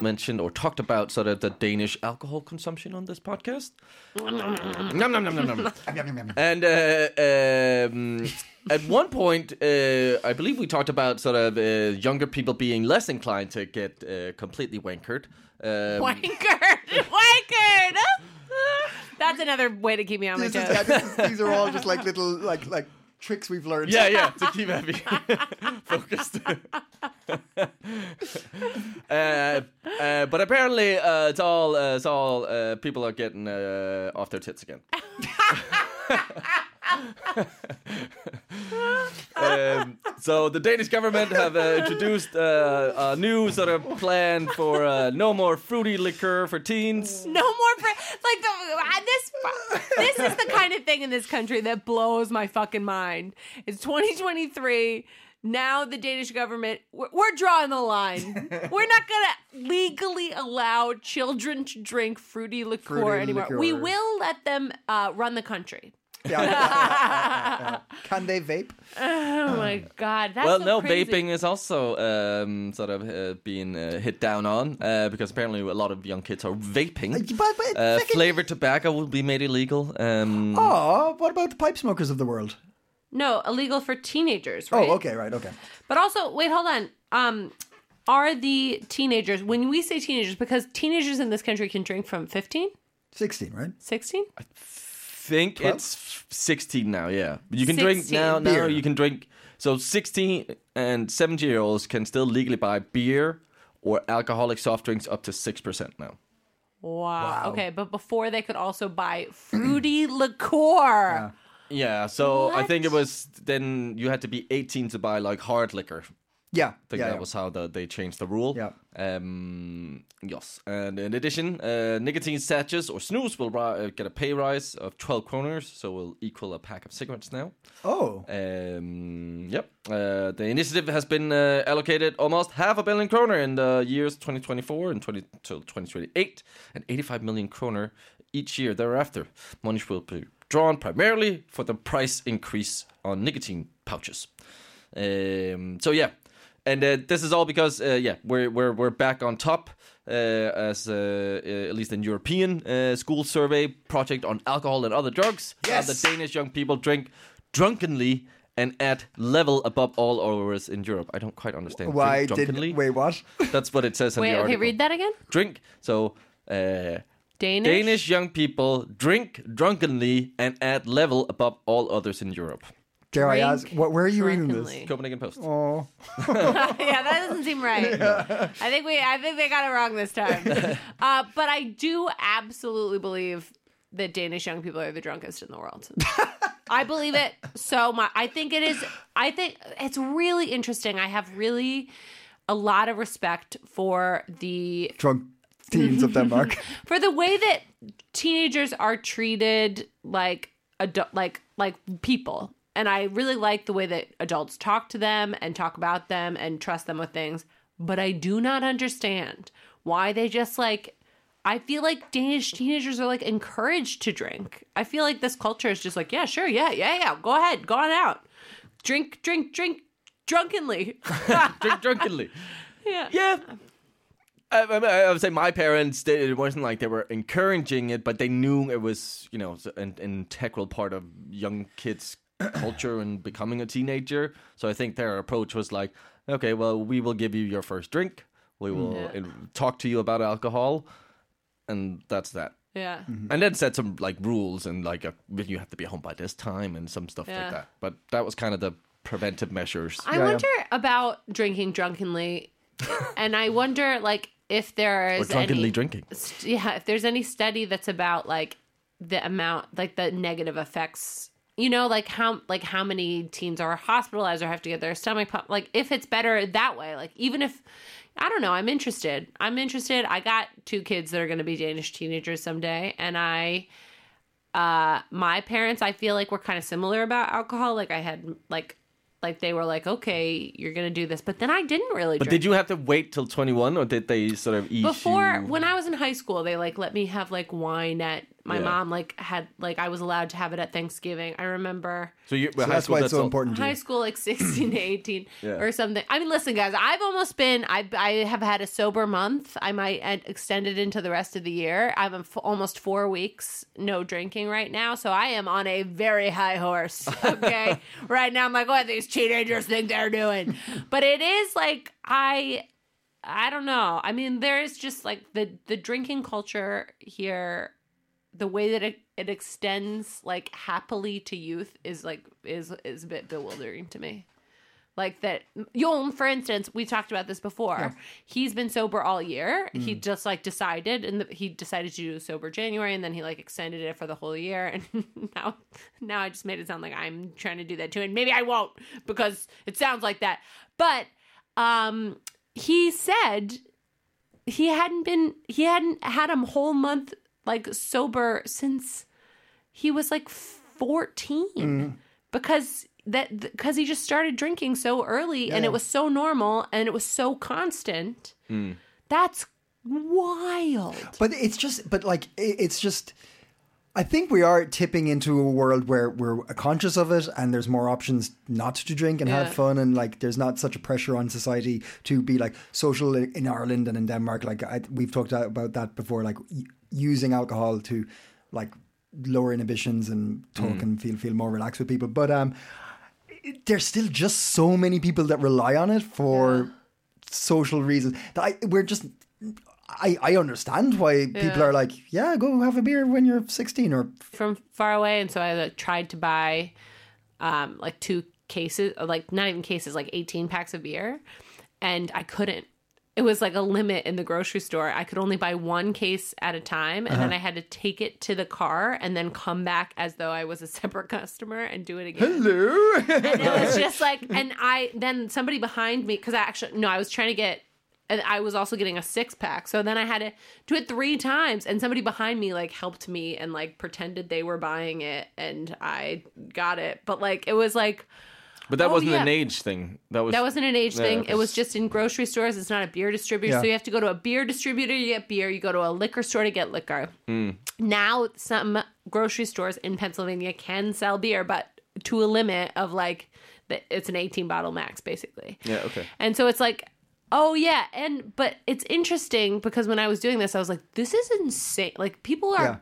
D: mentioned or talked about sort of the Danish alcohol consumption on this podcast. nom, nom, nom, nom, nom. and uh, um, at one point, uh, I believe we talked about sort of uh, younger people being less inclined to get uh, completely wankered. Um,
C: Wankered. Wankered. That's another way to keep me on my
A: This is- yeah,
C: toes.
A: this is- these are all just like little like like tricks we've learned.
D: yeah, yeah, to keep Abby focused. uh, uh, but apparently, uh, it's all uh, it's all uh, people are getting uh, off their tits again. um, so the Danish government have uh, introduced uh, a new sort of plan for uh, no more fruity liquor for teens.
C: No more fr- like the uh, this. This is the kind of thing in this country that blows my fucking mind. It's 2023. Now the Danish government, we're, we're drawing the line. We're not gonna legally allow children to drink fruity liqueur
A: Fruity
C: anymore. We
A: liqueur.
C: will let them uh, run the country.
A: Yeah, yeah, yeah, yeah, yeah. Can they vape?
C: Oh my
A: Mm.
C: god, that's
D: well,
C: so
D: no,
C: crazy.
D: vaping is also um, sort of uh, being uh, hit down on uh, because apparently a lot of young kids are vaping.
A: Uh, but- but
D: uh,
A: fucking-
D: flavored tobacco will be made illegal. Um,
A: Oh, what about the pipe smokers of the world?
C: No, illegal for teenagers, right?
A: Oh, okay, right, okay.
C: But also, wait, hold on. Um, are the teenagers, when we say teenagers, because teenagers in this country can drink from 15,
A: 16, right?
C: 16?
D: think it's f- 16 now. Yeah, you can drink
C: 16.
D: now. Now
A: Beer.
D: you can drink. So 16 and 17 year olds can still legally buy beer or alcoholic soft drinks up to six percent now.
C: Wow. Okay, but before they could also buy fruity liqueur.
D: Yeah, so I think it was then you had to be 18 to buy like hard liquor.
A: Yeah.
D: I think
A: yeah,
D: that
A: yeah.
D: was how the, they changed the rule.
A: Yeah.
D: Um, yes. And in addition, uh, nicotine sachets or snus will ri- uh, get a pay rise of 12 kroners, so will equal a pack of cigarettes now.
A: Oh.
D: uh, Um, yep. Uh, the initiative has been uh, allocated almost half a billion kroner in the years 2024 and 20 till 2028, and 85 million kroner each year thereafter. Money will be drawn primarily for the price increase on nicotine pouches. Um, so yeah, and uh, this is all because uh, yeah, we're we're we're back on top uh, as uh, uh, at least in European uh, school survey project on alcohol and other drugs. Yes, the Danish young people drink drunkenly and at level above all others in Europe. I don't quite understand.
A: Why
D: drink drunkenly?
A: did wait what?
D: That's what it says in
C: Wait,
D: the
C: okay,
D: article.
C: read that again.
D: Drink. So. Uh,
C: Danish.
D: Danish young people drink drunkenly and at level above all others in Europe.
A: Dare I ask
C: Drink
A: what where are you reading this?
C: drunkenly.
D: Copenhagen Post.
A: Oh.
C: yeah, that doesn't seem right. I think we I think they got it wrong this time. Uh, but I do absolutely believe that Danish young people are the drunkest in the world. I believe it so much. I think it is I think it's really interesting. I have really a lot of respect for the
A: Drunk teens of Denmark.
C: for the way that teenagers are treated like adult like like people and i really like the way that adults talk to them and talk about them and trust them with things but i do not understand why they just like i feel like danish teenagers are like encouraged to drink i feel like this culture is just like yeah sure yeah yeah yeah go ahead go on out drink drink drink drunkenly
D: drink drunkenly.
C: yeah
D: Yeah. I, I, mean, I would say my parents, they, it wasn't like they were encouraging it, but they knew it was, you know, s- an, an integral part of young kids' culture and becoming a teenager. So I think their approach was like, okay, well, we will give you your first drink. We will in- talk to you about alcohol. And that's that.
C: yeah
D: And then set some like rules and like a, you have to be home by this time and some stuff
C: Yeah.
D: like that. But that was kind of the preventive measures.
C: I wonder about drinking drunkenly, and I wonder like if there
D: or
C: is
D: drunkenly
C: any,
D: drinking.
C: st- yeah, if there's any study that's about like the amount, like the negative effects. You know, like how like how many teens are hospitalized or have to get their stomach pumped. Like if it's better that way. Like even if I don't know, I'm interested. I'm interested. I got two kids that are going to be Danish teenagers someday, and I uh my parents i feel like were kind of similar about alcohol like i had like like they were like, okay, you're gonna do this, but then I didn't really.
D: But
C: drink.
D: did you have to wait till 21, or did they sort of ease
C: before
D: you?
C: when I was in high school, they like let me have like wine at my
D: Yeah.
C: mom like had like I was allowed to have it at Thanksgiving. I remember
D: so you,
A: So
D: high
A: that's
D: school,
A: why it's so
D: all-
A: important to
C: high
A: you.
C: school like 16 to 18
D: Yeah.
C: or something. I mean, listen guys, I've almost been I I have had a sober month. I might ed- extend it into the rest of the year. I'm a f- almost 4 weeks no drinking right now, so I am on a very high horse, okay? right now I'm like what these teenagers think they're doing. but it is like I I don't know. I mean, there is just like the the drinking culture here, the way that it, it extends like happily to youth is like is is a bit bewildering to me. Like that Yon, for instance, we talked about this before. He's been sober all year. He just like decided, and the, he decided to do sober January, and then he like extended it for the whole year. And now, now I just made it sound like I'm trying to do that too, and maybe I won't because it sounds like that. But um, he said he hadn't been he hadn't had a whole month like sober since he was like 14 because that because he just started drinking so early and it was so normal and it was so constant that's wild
A: But it's just, but like, i- it's just. I think we are tipping into a world where we're conscious of it, and there's more options not to drink and have fun, and like there's not such a pressure on society to be like social i- in Ireland and in Denmark. Like I, we've talked a- about that before, like y- using alcohol to like lower inhibitions and talk and feel feel more relaxed with people. But um, it- there's still just so many people that rely on it for social reasons that I, we're just I, I understand why people are like, yeah, go have a beer when you're 16 or
C: from far away and so i like, tried to buy um like two cases or, like not even cases like 18 packs of beer and i couldn't it was like a limit in the grocery store i could only buy one case at a time and then i had to take it to the car and then come back as though i was a separate customer and do it again and it was just like and i then somebody behind me because i actually no i was trying to get and i was also getting a six pack so then i had to do it three times and somebody behind me like helped me and like pretended they were buying it and i got it but like it was like
D: But that
C: Oh,
D: wasn't
C: yeah.
D: an age thing. That was
C: that wasn't an age
D: Yeah,
C: thing
D: it
C: it
D: was-
C: was just in grocery stores it's not a beer distributor
A: Yeah.
C: so you have to go to a beer distributor to get beer you go to a liquor store to get liquor now some grocery stores in Pennsylvania can sell beer, but to a limit of like the, it's an 18 bottle max basically.
D: Yeah, okay.
C: And so it's like oh yeah, and but it's interesting because when I was doing this I was like this is insane. Like people are
A: Yeah.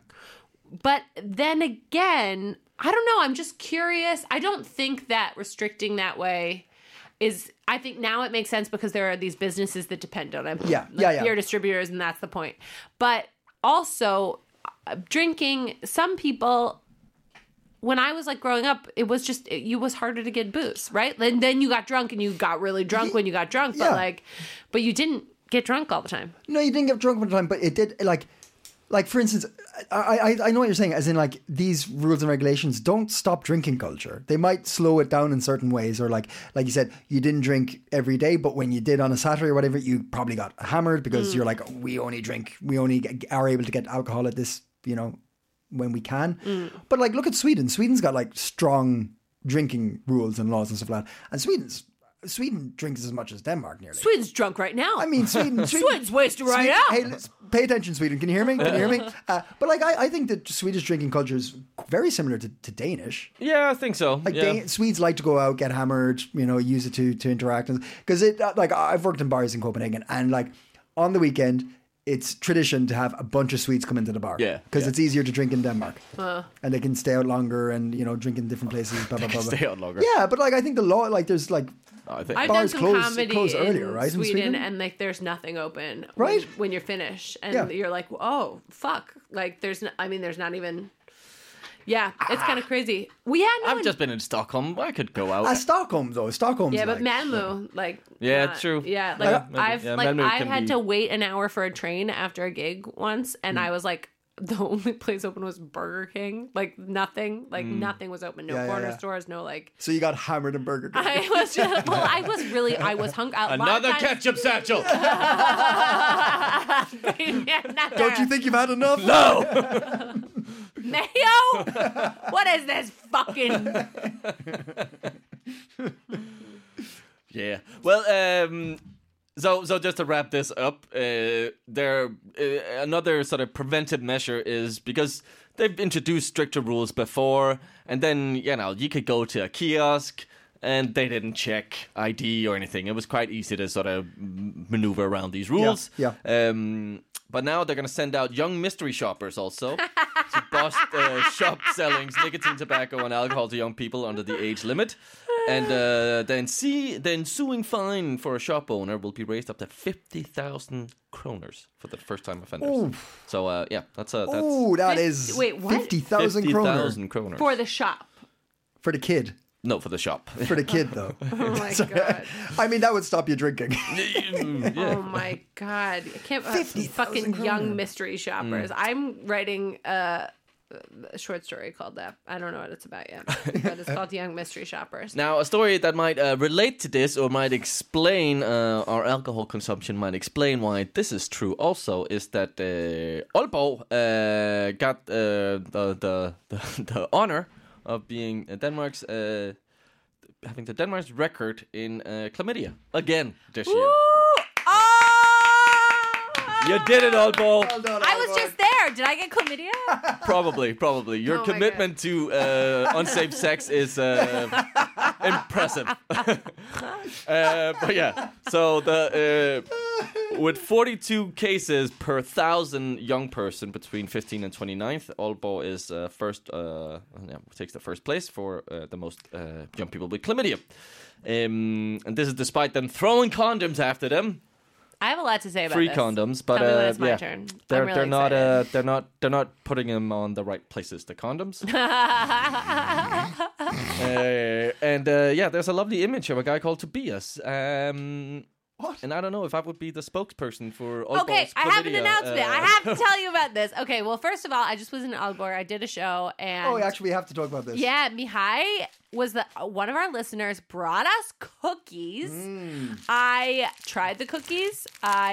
C: but then again, I don't know, I'm just curious. I don't think that restricting that way is I think now it makes sense because there are these businesses that depend on it.
A: Yeah,
C: Like,
A: yeah, yeah.
C: beer distributors and that's the point. But also uh, drinking some people when I was like growing up, it was just it, you was harder to get booze, right? And then you got drunk and you got really drunk when you got drunk, but
A: Yeah.
C: like but you didn't get drunk all the time.
A: no, you didn't get drunk all the time, but it did like, like for instance, I, I I know what you're saying. As in, like these rules and regulations don't stop drinking culture. They might slow it down in certain ways, or like like you said, you didn't drink every day, but when you did on a Saturday or whatever, you probably got hammered because you're like, we only drink, we only g- are able to get alcohol at this, you know, when we can. But like, look at Sweden. Sweden's got like strong drinking rules and laws and stuff like that, and Sweden's. Sweden drinks as much as Denmark nearly.
C: Sweden's drunk right now.
A: I mean, Sweden. Sweden
C: Sweden's wasted right
A: Sweden-
C: now.
A: Hey, let's pay attention, Sweden. Can you hear me? Can you hear me? Uh, but like, I, I think that Swedish drinking culture is very similar to, to Danish.
D: Yeah, I think so.
A: Like,
D: yeah.
A: Dan- Swedes like to go out, get hammered, you know, use it to to interact. Because it, uh, like, I've worked in bars in Copenhagen, and like on the weekend, it's tradition to have a bunch of Swedes come into the bar.
D: Yeah,
A: because
D: yeah.
A: it's easier to drink in Denmark,
C: Uh.
A: and they can stay out longer and you know drink in different places. Blah blah blah. blah.
D: stay out longer.
A: Yeah, but like, I think the law, like, there's like.
D: I think.
C: I've
A: bars
C: done some
A: close-
C: comedy
A: close earlier,
C: in
A: right, in
C: Sweden,
A: Sweden?
C: and like there's nothing open when-
A: Right.
C: when, you're finished, and
A: Yeah.
C: you're like, oh fuck, like there's, n- I mean, there's not even, yeah, it's kind of
A: Ah.
C: crazy. We had no,
D: I've
C: one-
D: just been in Stockholm. I could go out.
A: Uh, Stockholm though, Stockholm's
C: yeah,
A: like,
C: but Malmo, like,
D: Yeah,
C: not-
D: true.
C: yeah,
D: Yeah,
C: like
D: maybe.
C: I've
D: Yeah,
C: like
D: Malmo
C: I've
D: can
C: had
D: be- Hmm.
C: to wait an hour for a train after a gig once, and I was like. The only place open was Burger King. Like nothing, like
D: Hmm.
C: nothing was open. No
A: Yeah, yeah,
C: corner
A: yeah.
C: stores. No like.
A: So you got hammered in Burger King.
C: I was just. Well, I was really. I was hungry.
D: Another ketchup satchel.
A: Don't you think you've had enough?
D: no.
C: mayo? what is this fucking?
D: Yeah. Well, um, so so just to wrap this up, uh, there uh, another sort of preventive measure is because they've introduced stricter rules before, and then you know you could go to a kiosk. And they didn't check ID or anything. It was quite easy to sort of m- maneuver around these rules.
A: yeah.
D: Um, but now they're going to send out young mystery shoppers also to bust uh, shop sellings, nicotine, tobacco, and alcohol to young people under the age limit. And uh, then see, the ensuing fine for a shop owner will be raised up to 50,000 kroners for the first time offenders. So, uh, yeah, that's a. That's
A: Oh, that
C: Fif-
A: is
C: wait, what?
A: 50,000 kroner
D: 50,000 kroners.
C: for the shop.
A: for the kid.
D: no, for the shop.
A: For the kid, though.
C: Oh my god.
A: I mean, that would stop you drinking.
C: Oh my god! I can't uh,
A: 50,000
C: fucking
A: kroner.
C: young mystery
D: Mm.
C: shoppers. I'm writing uh, a short story called that. I don't know what it's about yet, but it's called Young Mystery Shoppers.
D: Now, a story that might uh, relate to this or might explain uh, our alcohol consumption, might explain why this is true also, is that uh, Olbo uh, got uh, the, the, the, the honor of being Denmark's. Uh, Having the Denmark's record in uh, chlamydia again this year.
C: Ooh, oh!
D: You did it, Olbo.
C: I was just there. Did I get chlamydia?
D: Probably, probably. Your
C: Oh my God.
D: commitment to uh, unsafe sex is uh, impressive. uh, but yeah, so the uh, with 42 cases per thousand young person between 15 and 29th, Olbo is uh, first uh, yeah, takes the first place for uh, the most uh, young people with chlamydia. Um, and this is despite them throwing condoms after them
C: I have a lot to say about
D: free
C: this.
D: condoms, but
C: Tell me
D: uh,
C: when it's my
D: yeah,
C: turn. I'm
D: they're
C: really
D: they're not uh,
C: excited.
D: they're not they're not putting them on the right places. The condoms, uh, and uh, yeah, there's a lovely image of a guy called Tobias. Um,
A: What?
D: And I don't know if I would be the spokesperson for. Oddball's
C: Okay, I have an
D: chlamydia,
C: announcement.
D: uh,
C: I have to tell you about this. Okay, well, first of all, I just was in Aalborg. I did a show, and
A: Oh, we actually have to talk about this.
C: Yeah, Mihai was the uh, one of our listeners brought us cookies.
A: Mm.
C: I tried the cookies.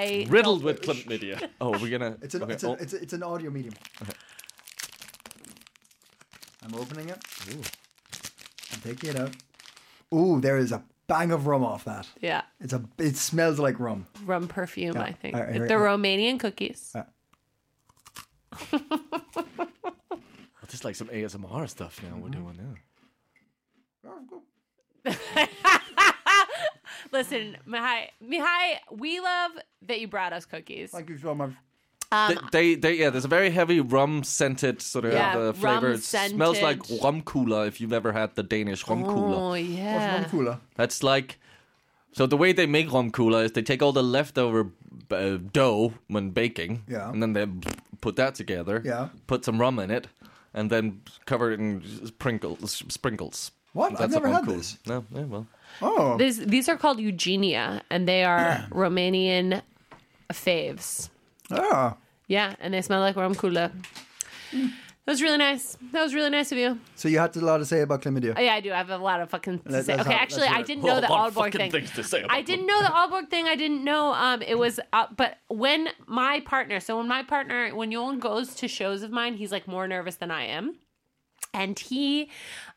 C: I
D: riddled with chlamydia. Oh, we're gonna.
A: It's an,
D: okay,
A: it's, an
D: oh,
A: it's, a, it's an audio medium. I'm opening it. I'm taking it out. Ooh, there is a bang of rum off that.
C: yeah,
A: It's a. It smells like rum.
C: rum perfume. I think
A: all right,
C: the
A: all
C: Romanian cookies.
A: Uh.
D: oh, this is like some ASMR stuff now.
C: Mm-hmm.
D: We're doing now.
C: Listen, Mihai, Mihai, we love that you brought us cookies.
A: Thank you so much.
C: Um,
D: they, they, they, yeah. There's a very heavy rum scented sort of
C: Yeah,
D: uh, flavor. It smells like
C: rum-scented.
D: rum cooler if you've ever had the Danish rum cooler.
C: oh
A: What's
C: yeah,
A: rum cooler?
D: That's like so the way they make rum cola is they take all the leftover uh, dough when baking,
A: Yeah.
D: and then they put that together,
A: Yeah.
D: put some rum in it, and then cover it in sprinkles. Sprinkles.
A: What? I've never
D: rum
A: had
D: cola.
A: this.
D: No, yeah, well,
A: Oh,
C: These these are called Eugenia, and they are Romanian faves.
A: ah.
C: Yeah, and they smell like rum cooler.
A: Mm.
C: That was really nice. That was really nice of you.
A: So you had a lot to say about chlamydia.
C: Oh, yeah, I do. I have a lot of fucking to
A: Let-
C: say.
A: let's
C: Okay,
A: have-
C: actually,
A: let's hear
C: I
A: it.
C: didn't know the
D: lot
C: Aalborg
D: of fucking
C: thing.
D: things to say
C: I
D: about
C: didn't know the Aalborg thing. I didn't know um it was uh, but when my partner, so when my partner, when Yolan goes to shows of mine, he's like more nervous than I am. And he,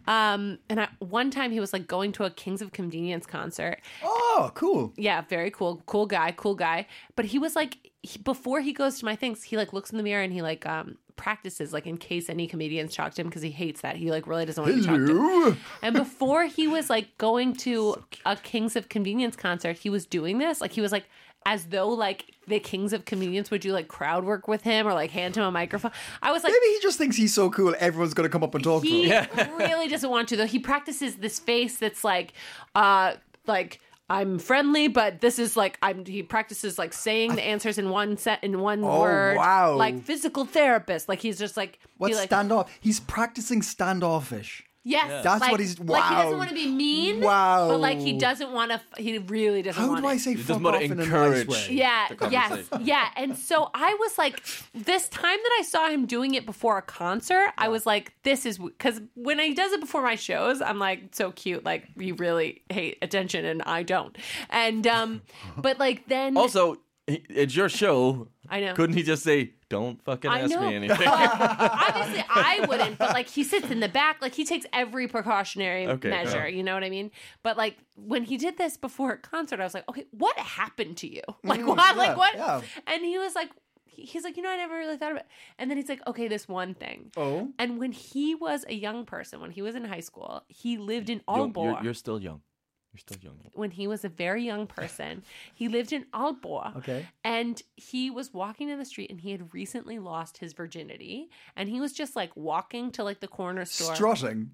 C: um, and I, one time he was like going to a Kings of Convenience concert,
A: Oh, cool.
C: yeah, very cool, cool guy, cool guy. But he was like, he, before he goes to my things, he like looks in the mirror and he like um practices like in case any comedians chalked him because he hates that. He like really doesn't want to be chalked. Up. And before he was like going to a Kings of Convenience concert, he was doing this. Like he was like as though like the Kings of Convenience would do like crowd work with him or like hand him a microphone. I was like,
A: Maybe he just thinks he's so cool. Everyone's gonna come up and talk to
C: he
A: him.
C: really doesn't want to though. He practices this face that's like, uh, like I'm friendly, but this is like I'm. He practices like saying the answers in one set in one
A: Oh,
C: word.
A: wow.
C: Like physical therapist. Like he's just like
A: What's
C: he, like,
A: standoff? He's practicing standoffish.
C: Yes,
A: That's
C: like-
A: what he's-
C: Like he
A: wow.
C: doesn't want to be mean.
A: Wow.
C: But like he doesn't want to. He really doesn't.
A: How
C: want
A: do I
C: it.
A: say
D: doesn't
A: fuck
D: wanna
A: off in a nice
D: encourage
A: way?
C: Yeah,
D: the
C: yes, yeah. And so I was like, this time that I saw him doing it before a concert, I was like, this is because when he does it before my shows, I'm like, so cute. Like, you really hate attention, and I don't. And, um, but like, then
D: also, he- it's your show.
C: I know.
D: Couldn't he just say, "Don't fucking
C: I
D: ask
C: know.
D: me anything"?
C: Obviously, I wouldn't, but like he sits in the back, like he takes every precautionary
D: Okay,
C: measure.
D: yeah.
C: You know what I mean? But like when he did this before a concert, I was like, okay, what happened to you? Like what?
A: Mm-hmm. yeah,
C: like what?
A: yeah.
C: And he was like, he- he's like, you know, I never really thought about. It. And then he's like, okay, this one thing.
A: Oh.
C: And when he was a young person, when he was in high school, he lived in
D: You're-
C: Aalborg.
D: You're, you're still young. You're still young.
C: when he was a very young person. He lived in Aalborg.
A: Okay.
C: And he was walking in the street and he had recently lost his virginity. And he was just like walking to like the corner store.
A: Strutting.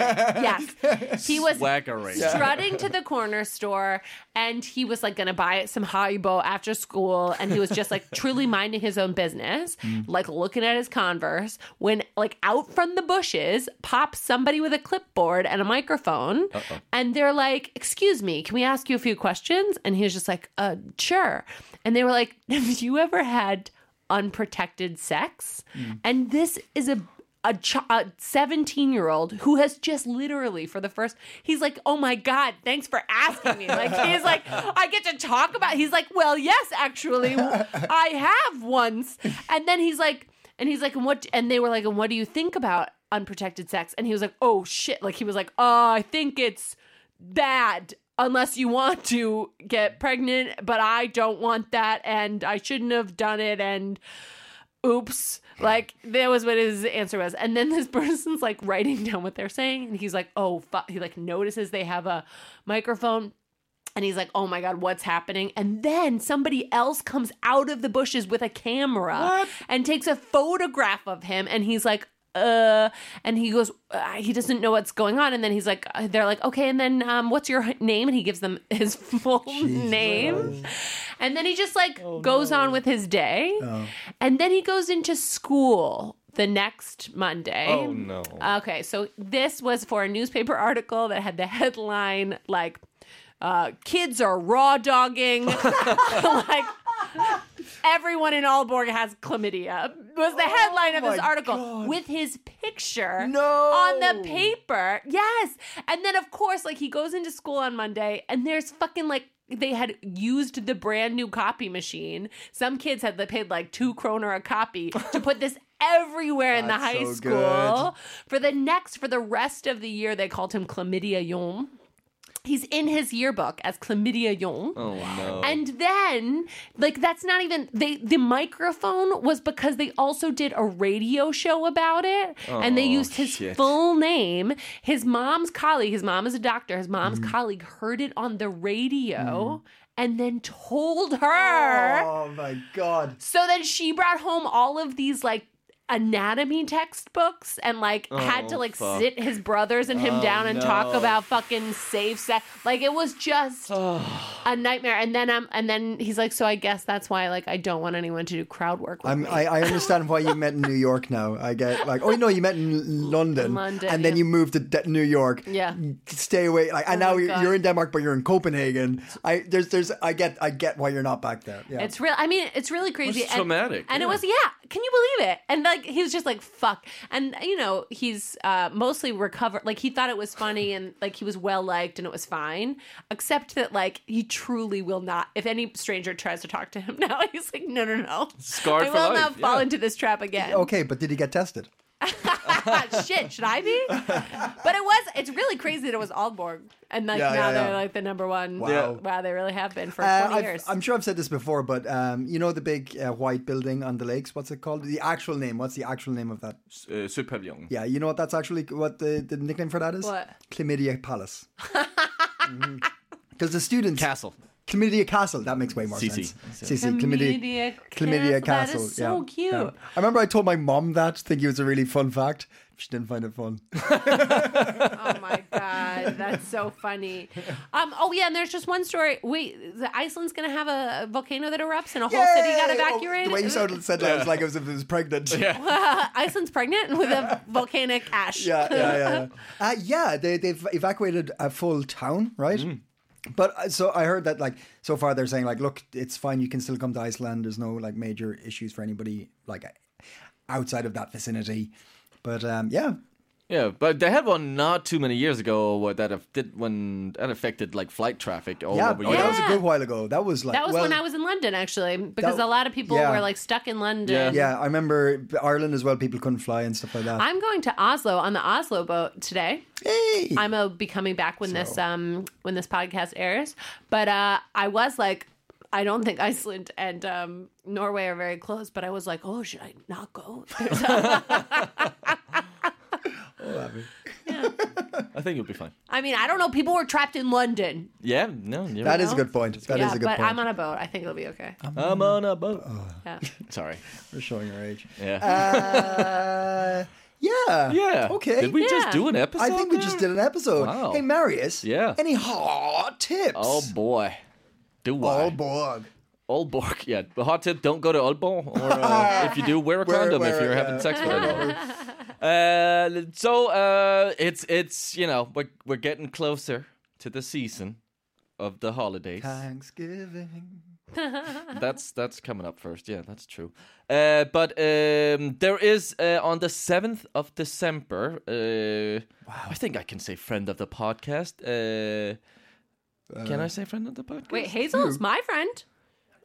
C: yes. He was
D: Swaggering.
C: strutting to the corner store and he was like gonna buy some Haribo after school and he was just like truly minding his own business, like looking at his Converse when like out from the bushes pops somebody with a clipboard and a microphone and they're like, "Excuse me, can we ask you a few questions?" And he was just like, "Uh, sure." And they were like, "Have you ever had unprotected sex?" And this is a a, ch- a 17 year old who has just literally for the first he's like oh my god thanks for asking me like he's like i get to talk about he's like well yes actually i have once and then he's like and he's like and what and they were like and what do you think about unprotected sex and he was like oh shit like he was like oh i think it's bad unless you want to get pregnant but i don't want that and i shouldn't have done it and oops like that was what his answer was and then this person's like writing down what they're saying and he's like oh fuck he like notices they have a microphone and he's like oh my god what's happening and then somebody else comes out of the bushes with a camera and takes a photograph of him and he's like uh and he goes uh, he doesn't know what's going on and then he's like uh, they're like okay and then um what's your h- name and he gives them his full name and then he just like goes on with his day and then he goes into school the next monday
D: Oh no.
C: Okay, so this was for a newspaper article that had the headline like uh, "Kids are raw dogging," like everyone in Aalborg has chlamydia was the headline of this article with his picture
A: No.
C: on the paper. Yes, and then of course, like he goes into school on Monday, and there's fucking like. They had used the brand new copy machine. Some kids had paid like two kroner a copy to put this everywhere in the
A: That's
C: high
A: so
C: school.
A: good.
C: For the next, for the rest of the year, they called him Chlamydia Yom. He's in his yearbook as Chlamydia Yom.
D: Oh no.
C: And then, like, that's not even they. The microphone was because they also did a radio show about it, and they
D: Oh,
C: used his
D: shit.
C: full name. His mom's colleague, his mom is a doctor. His mom's
D: Mm-hmm.
C: colleague heard it on the
D: Mm.
C: radio, and then told her.
A: Oh my god.
C: So then she brought home all of these like anatomy textbooks and like had to like
D: fuck.
C: sit his brothers and him down and talk about fucking safe sex. Like it was just a nightmare. And then um and then he's like, so I guess that's why like I don't want anyone to do crowd work. With
A: I'm,
C: me.
A: I, I understand why you met in New York now. I get like, oh no, you met in L- London,
C: London,
A: and then
C: yeah.
A: you moved to De- New York.
C: Yeah.
A: stay away. Like, and
C: Oh
A: now
C: my
A: you're,
C: God.
A: you're in Denmark, but you're in Copenhagen. I there's there's I get I get why you're not back there. Yeah,
C: It's real. I mean, it's really crazy. and,
D: traumatic,
C: And
D: yeah.
C: it was, yeah. Can you believe it? And like, he was just like, "Fuck." And you know, he's uh, mostly recovered. Like, he thought it was funny, and like, he was well liked, and it was fine. Except that, like, he truly will not. If any stranger tries to talk to him now, he's like, "No, no, no."
D: Scarred
C: I
D: for
C: will
D: life,
C: not fall
D: yeah.
C: into this trap again.
A: okay, but did he get tested?
C: Shit, should I be? but it was. It's really crazy that it was Aalborg, and like
A: Yeah,
C: now
A: yeah,
C: they're
A: yeah.
C: like the number one.
A: Wow.
C: wow, they really have been for
A: Uh,
C: twenty
A: I've-
C: years.
A: I'm sure I've said this before, but um, you know the big uh, white building on the lakes. What's it called? The actual name. What's the actual name of that?
D: Uh, Sir Pavillon.
A: Yeah, you know what? That's actually what the, the nickname for that is.
C: What?
A: Chlamydia Palace. Because the students
D: Castle.
A: Chlamydia Castle. That makes way more
D: CC.
A: sense. CC. Chlamydia, Chlamydia Castle.
C: That is so
A: yeah,
C: cute.
A: yeah. I remember I told my mom that, thinking it was a really fun fact. She didn't find it fun.
C: Oh my god, that's so funny. Um, oh yeah, and there's just one story. Wait, the Iceland's gonna have a volcano that erupts and a whole city got
A: Yay! Oh,
C: evacuated.
A: the way you sounded said that was like it was if it was pregnant. Yeah.
C: Iceland's pregnant with a volcanic ash.
A: yeah, yeah, yeah. yeah. Uh, yeah, they, they've evacuated a full town, right?
D: Mm.
A: But uh, so I heard that, like, so far they're saying, like, look, it's fine. You can still come to Iceland. There's no like major issues for anybody, like, outside of that vicinity. But um, yeah,
D: Yeah, but they had one not too many years ago where that af- did when that affected like flight traffic all
A: yeah,
D: over
A: but
D: Europe.
A: that was a good while ago. That was like
C: That was
A: well,
C: when I was in London, actually, because
A: That-
C: a lot of people
A: yeah.
C: were like stuck in London.
A: Yeah, I remember Ireland as well. People couldn't fly and stuff like that.
C: I'm going to Oslo on the Oslo boat today.
A: hey,
C: I'm uh, be coming back when this um when this podcast airs. But uh, I was like, I don't think Iceland and um, Norway are very close. But I was like, oh, should I not go? There's a-
D: I think you'll be fine.
C: I mean, I don't know. People were trapped in London.
D: Yeah, no,
A: that
D: you're right.
A: is a good point. That is
C: yeah,
A: a good
C: but
A: point. Oh,
C: I'm on a boat. I think it'll be okay.
D: I'm on a boat.
A: Uh.
C: Yeah.
D: Sorry.
A: We're showing our age.
D: Yeah.
A: Uh, yeah.
D: yeah.
A: Okay.
D: Did we just
C: Yeah.
D: do an episode?
A: I think we just did an episode.
D: Wow.
A: Hey, Marius.
D: Yeah.
A: Any hot tips?
D: Oh boy. Do I?
A: All Borg.
D: Aalborg, yeah. But hot tip: don't go to Aalborg, or uh, if you do, wear a
A: Wear-
D: condom
A: wear
D: if you're
A: it,
D: having
A: yeah.
D: sex with anyone. Uh, so uh, it's it's you know we're we're getting closer to the season of the holidays.
A: Thanksgiving.
D: That's that's coming up first. Yeah, that's true. Uh, but um, there is uh, on the seventh of December. Uh, wow. I think I can say friend of the podcast. Uh, can I say friend of the podcast?
C: Wait, Hazel is my friend.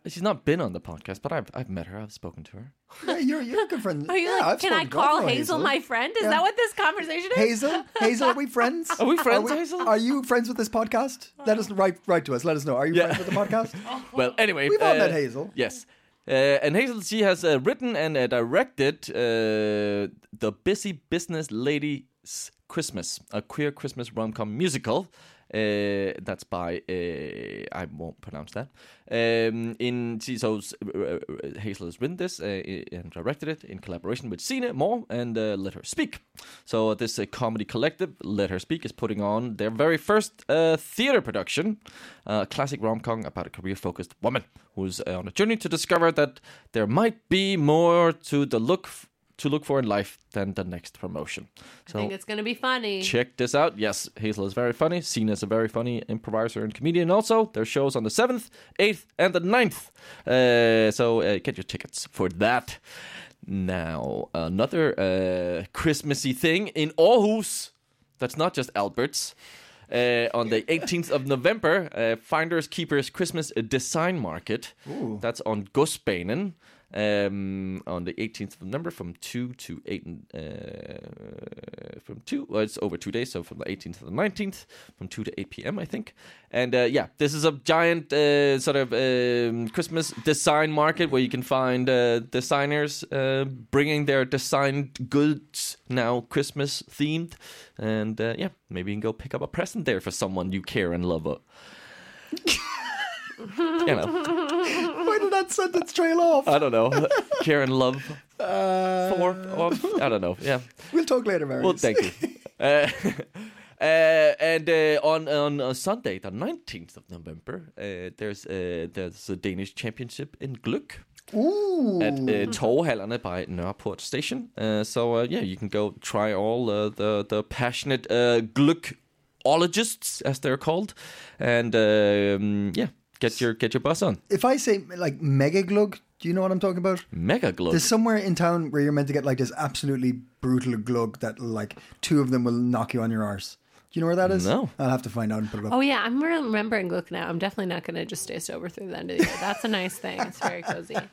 D: She's not been on the podcast, but I've I've met her. I've spoken to her.
A: Yeah, you're, you're a good friend.
C: Are you
A: yeah,
C: like,
A: I've
C: can I
A: spoken to- I've
C: call
A: known
C: Hazel, my friend? Is that what this conversation is?
A: Hazel, Hazel, are we friends?
D: Are we friends, Hazel?
A: Are you friends with this podcast? Let us write write to us. Let us know. Are you
D: Yeah.
A: friends with the podcast?
C: Oh.
D: Well, anyway,
A: We've all met Hazel.
D: Yes, uh, and Hazel she has uh, written and uh, directed uh, the Busy Business Ladies Christmas, a queer Christmas rom com musical. Uh, that's by uh, I won't pronounce that. Um, in she so uh, Hazel has written this uh, and directed it in collaboration with Cena Moore and uh, Let Her Speak. So this uh, comedy collective, Let Her Speak, is putting on their very first uh, theater production, uh, classic rom com about a career focused woman who's uh, on a journey to discover that there might be more to the look f- to look for in life than the next promotion. So
C: I think it's gonna be funny.
D: check this out. Yes, Hazel is very funny. Cena is a very funny improviser and comedian. Also, their shows on the 7th, 8th, and the 9th. Uh, so uh, get your tickets for that. Now, another uh, Christmassy thing in Aarhus. That's not just Albert's. Uh, on the 18th of November, uh, Finders Keepers Christmas Design Market. That's on Gosbanen. Um, on the 18th of November, from two to eight, uh, from two. Well, it's over two days, so from the 18th to the 19th, from two to 8 p.m. I think. And uh, yeah, this is a giant uh, sort of um, Christmas design market where you can find uh, designers uh, bringing their designed goods now Christmas themed, and uh, yeah, maybe you can go pick up a present there for someone you care and love. Uh, you know,
A: Why did that sentence trail off?
D: I don't know, care and love for. Of, I don't know. Yeah.
A: we'll talk later, Marius.
D: Well, thank you. Uh, uh, and uh, on on uh, Sunday, the nineteenth of November, uh, there's uh, there's a Danish championship in Glück
A: Ooh.
D: at uh, Torvhallerne by Nørreport Station. Uh, so uh, yeah, you can go try all uh, the the passionate uh, Glückologists as they're called, and um, yeah, get your get your bus on.
A: If I say like mega glug, do you know what I'm talking about?
D: Mega Glück.
A: There's somewhere in town where you're meant to get like this absolutely brutal glug that like two of them will knock you on your arse. Do you know where that is?
D: No.
A: I'll have to find out and put it up.
C: Oh yeah, I'm re- remembering Look now. I'm definitely not going to just stay sober through the end of the year. That's a nice thing. It's very cozy. Um,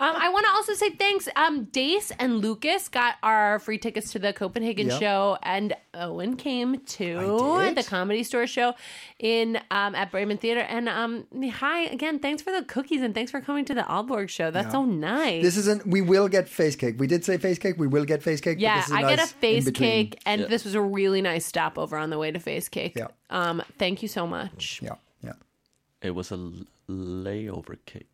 C: I want to also say thanks. Um, Dace and Lucas got our free tickets to the Copenhagen
A: Yep.
C: show, and Owen came
A: I
C: to
A: did.
C: the Comedy Store show in um, at Bremen Theater. And um, hi again, thanks for the cookies and thanks for coming to the Aalborg show. That's so nice.
A: This isn't. We will get face cake. We did say face cake. We will get face cake. but
C: yeah,
A: this is
C: I get a
A: nice
C: face
A: in between.
C: cake, and this was a really nice stopover on the way to face cake.
A: Yeah.
C: Um, thank you so much.
A: Yeah, yeah.
D: it was a l- layover cake.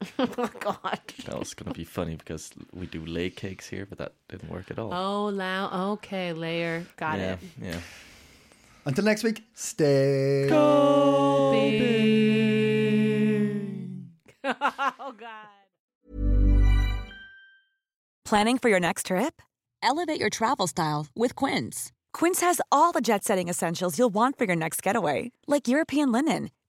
C: Oh God.
D: That was gonna be funny because we do lay cakes here, but that didn't work at all.
C: Oh, loud. Okay, layer. Got
D: yeah,
C: it.
D: yeah.
A: Until next week, stay.
C: oh, God.
F: Planning for your next trip?
G: Elevate your travel style with Quince.
F: Quince has all the jet setting essentials you'll want for your next getaway, like European linen,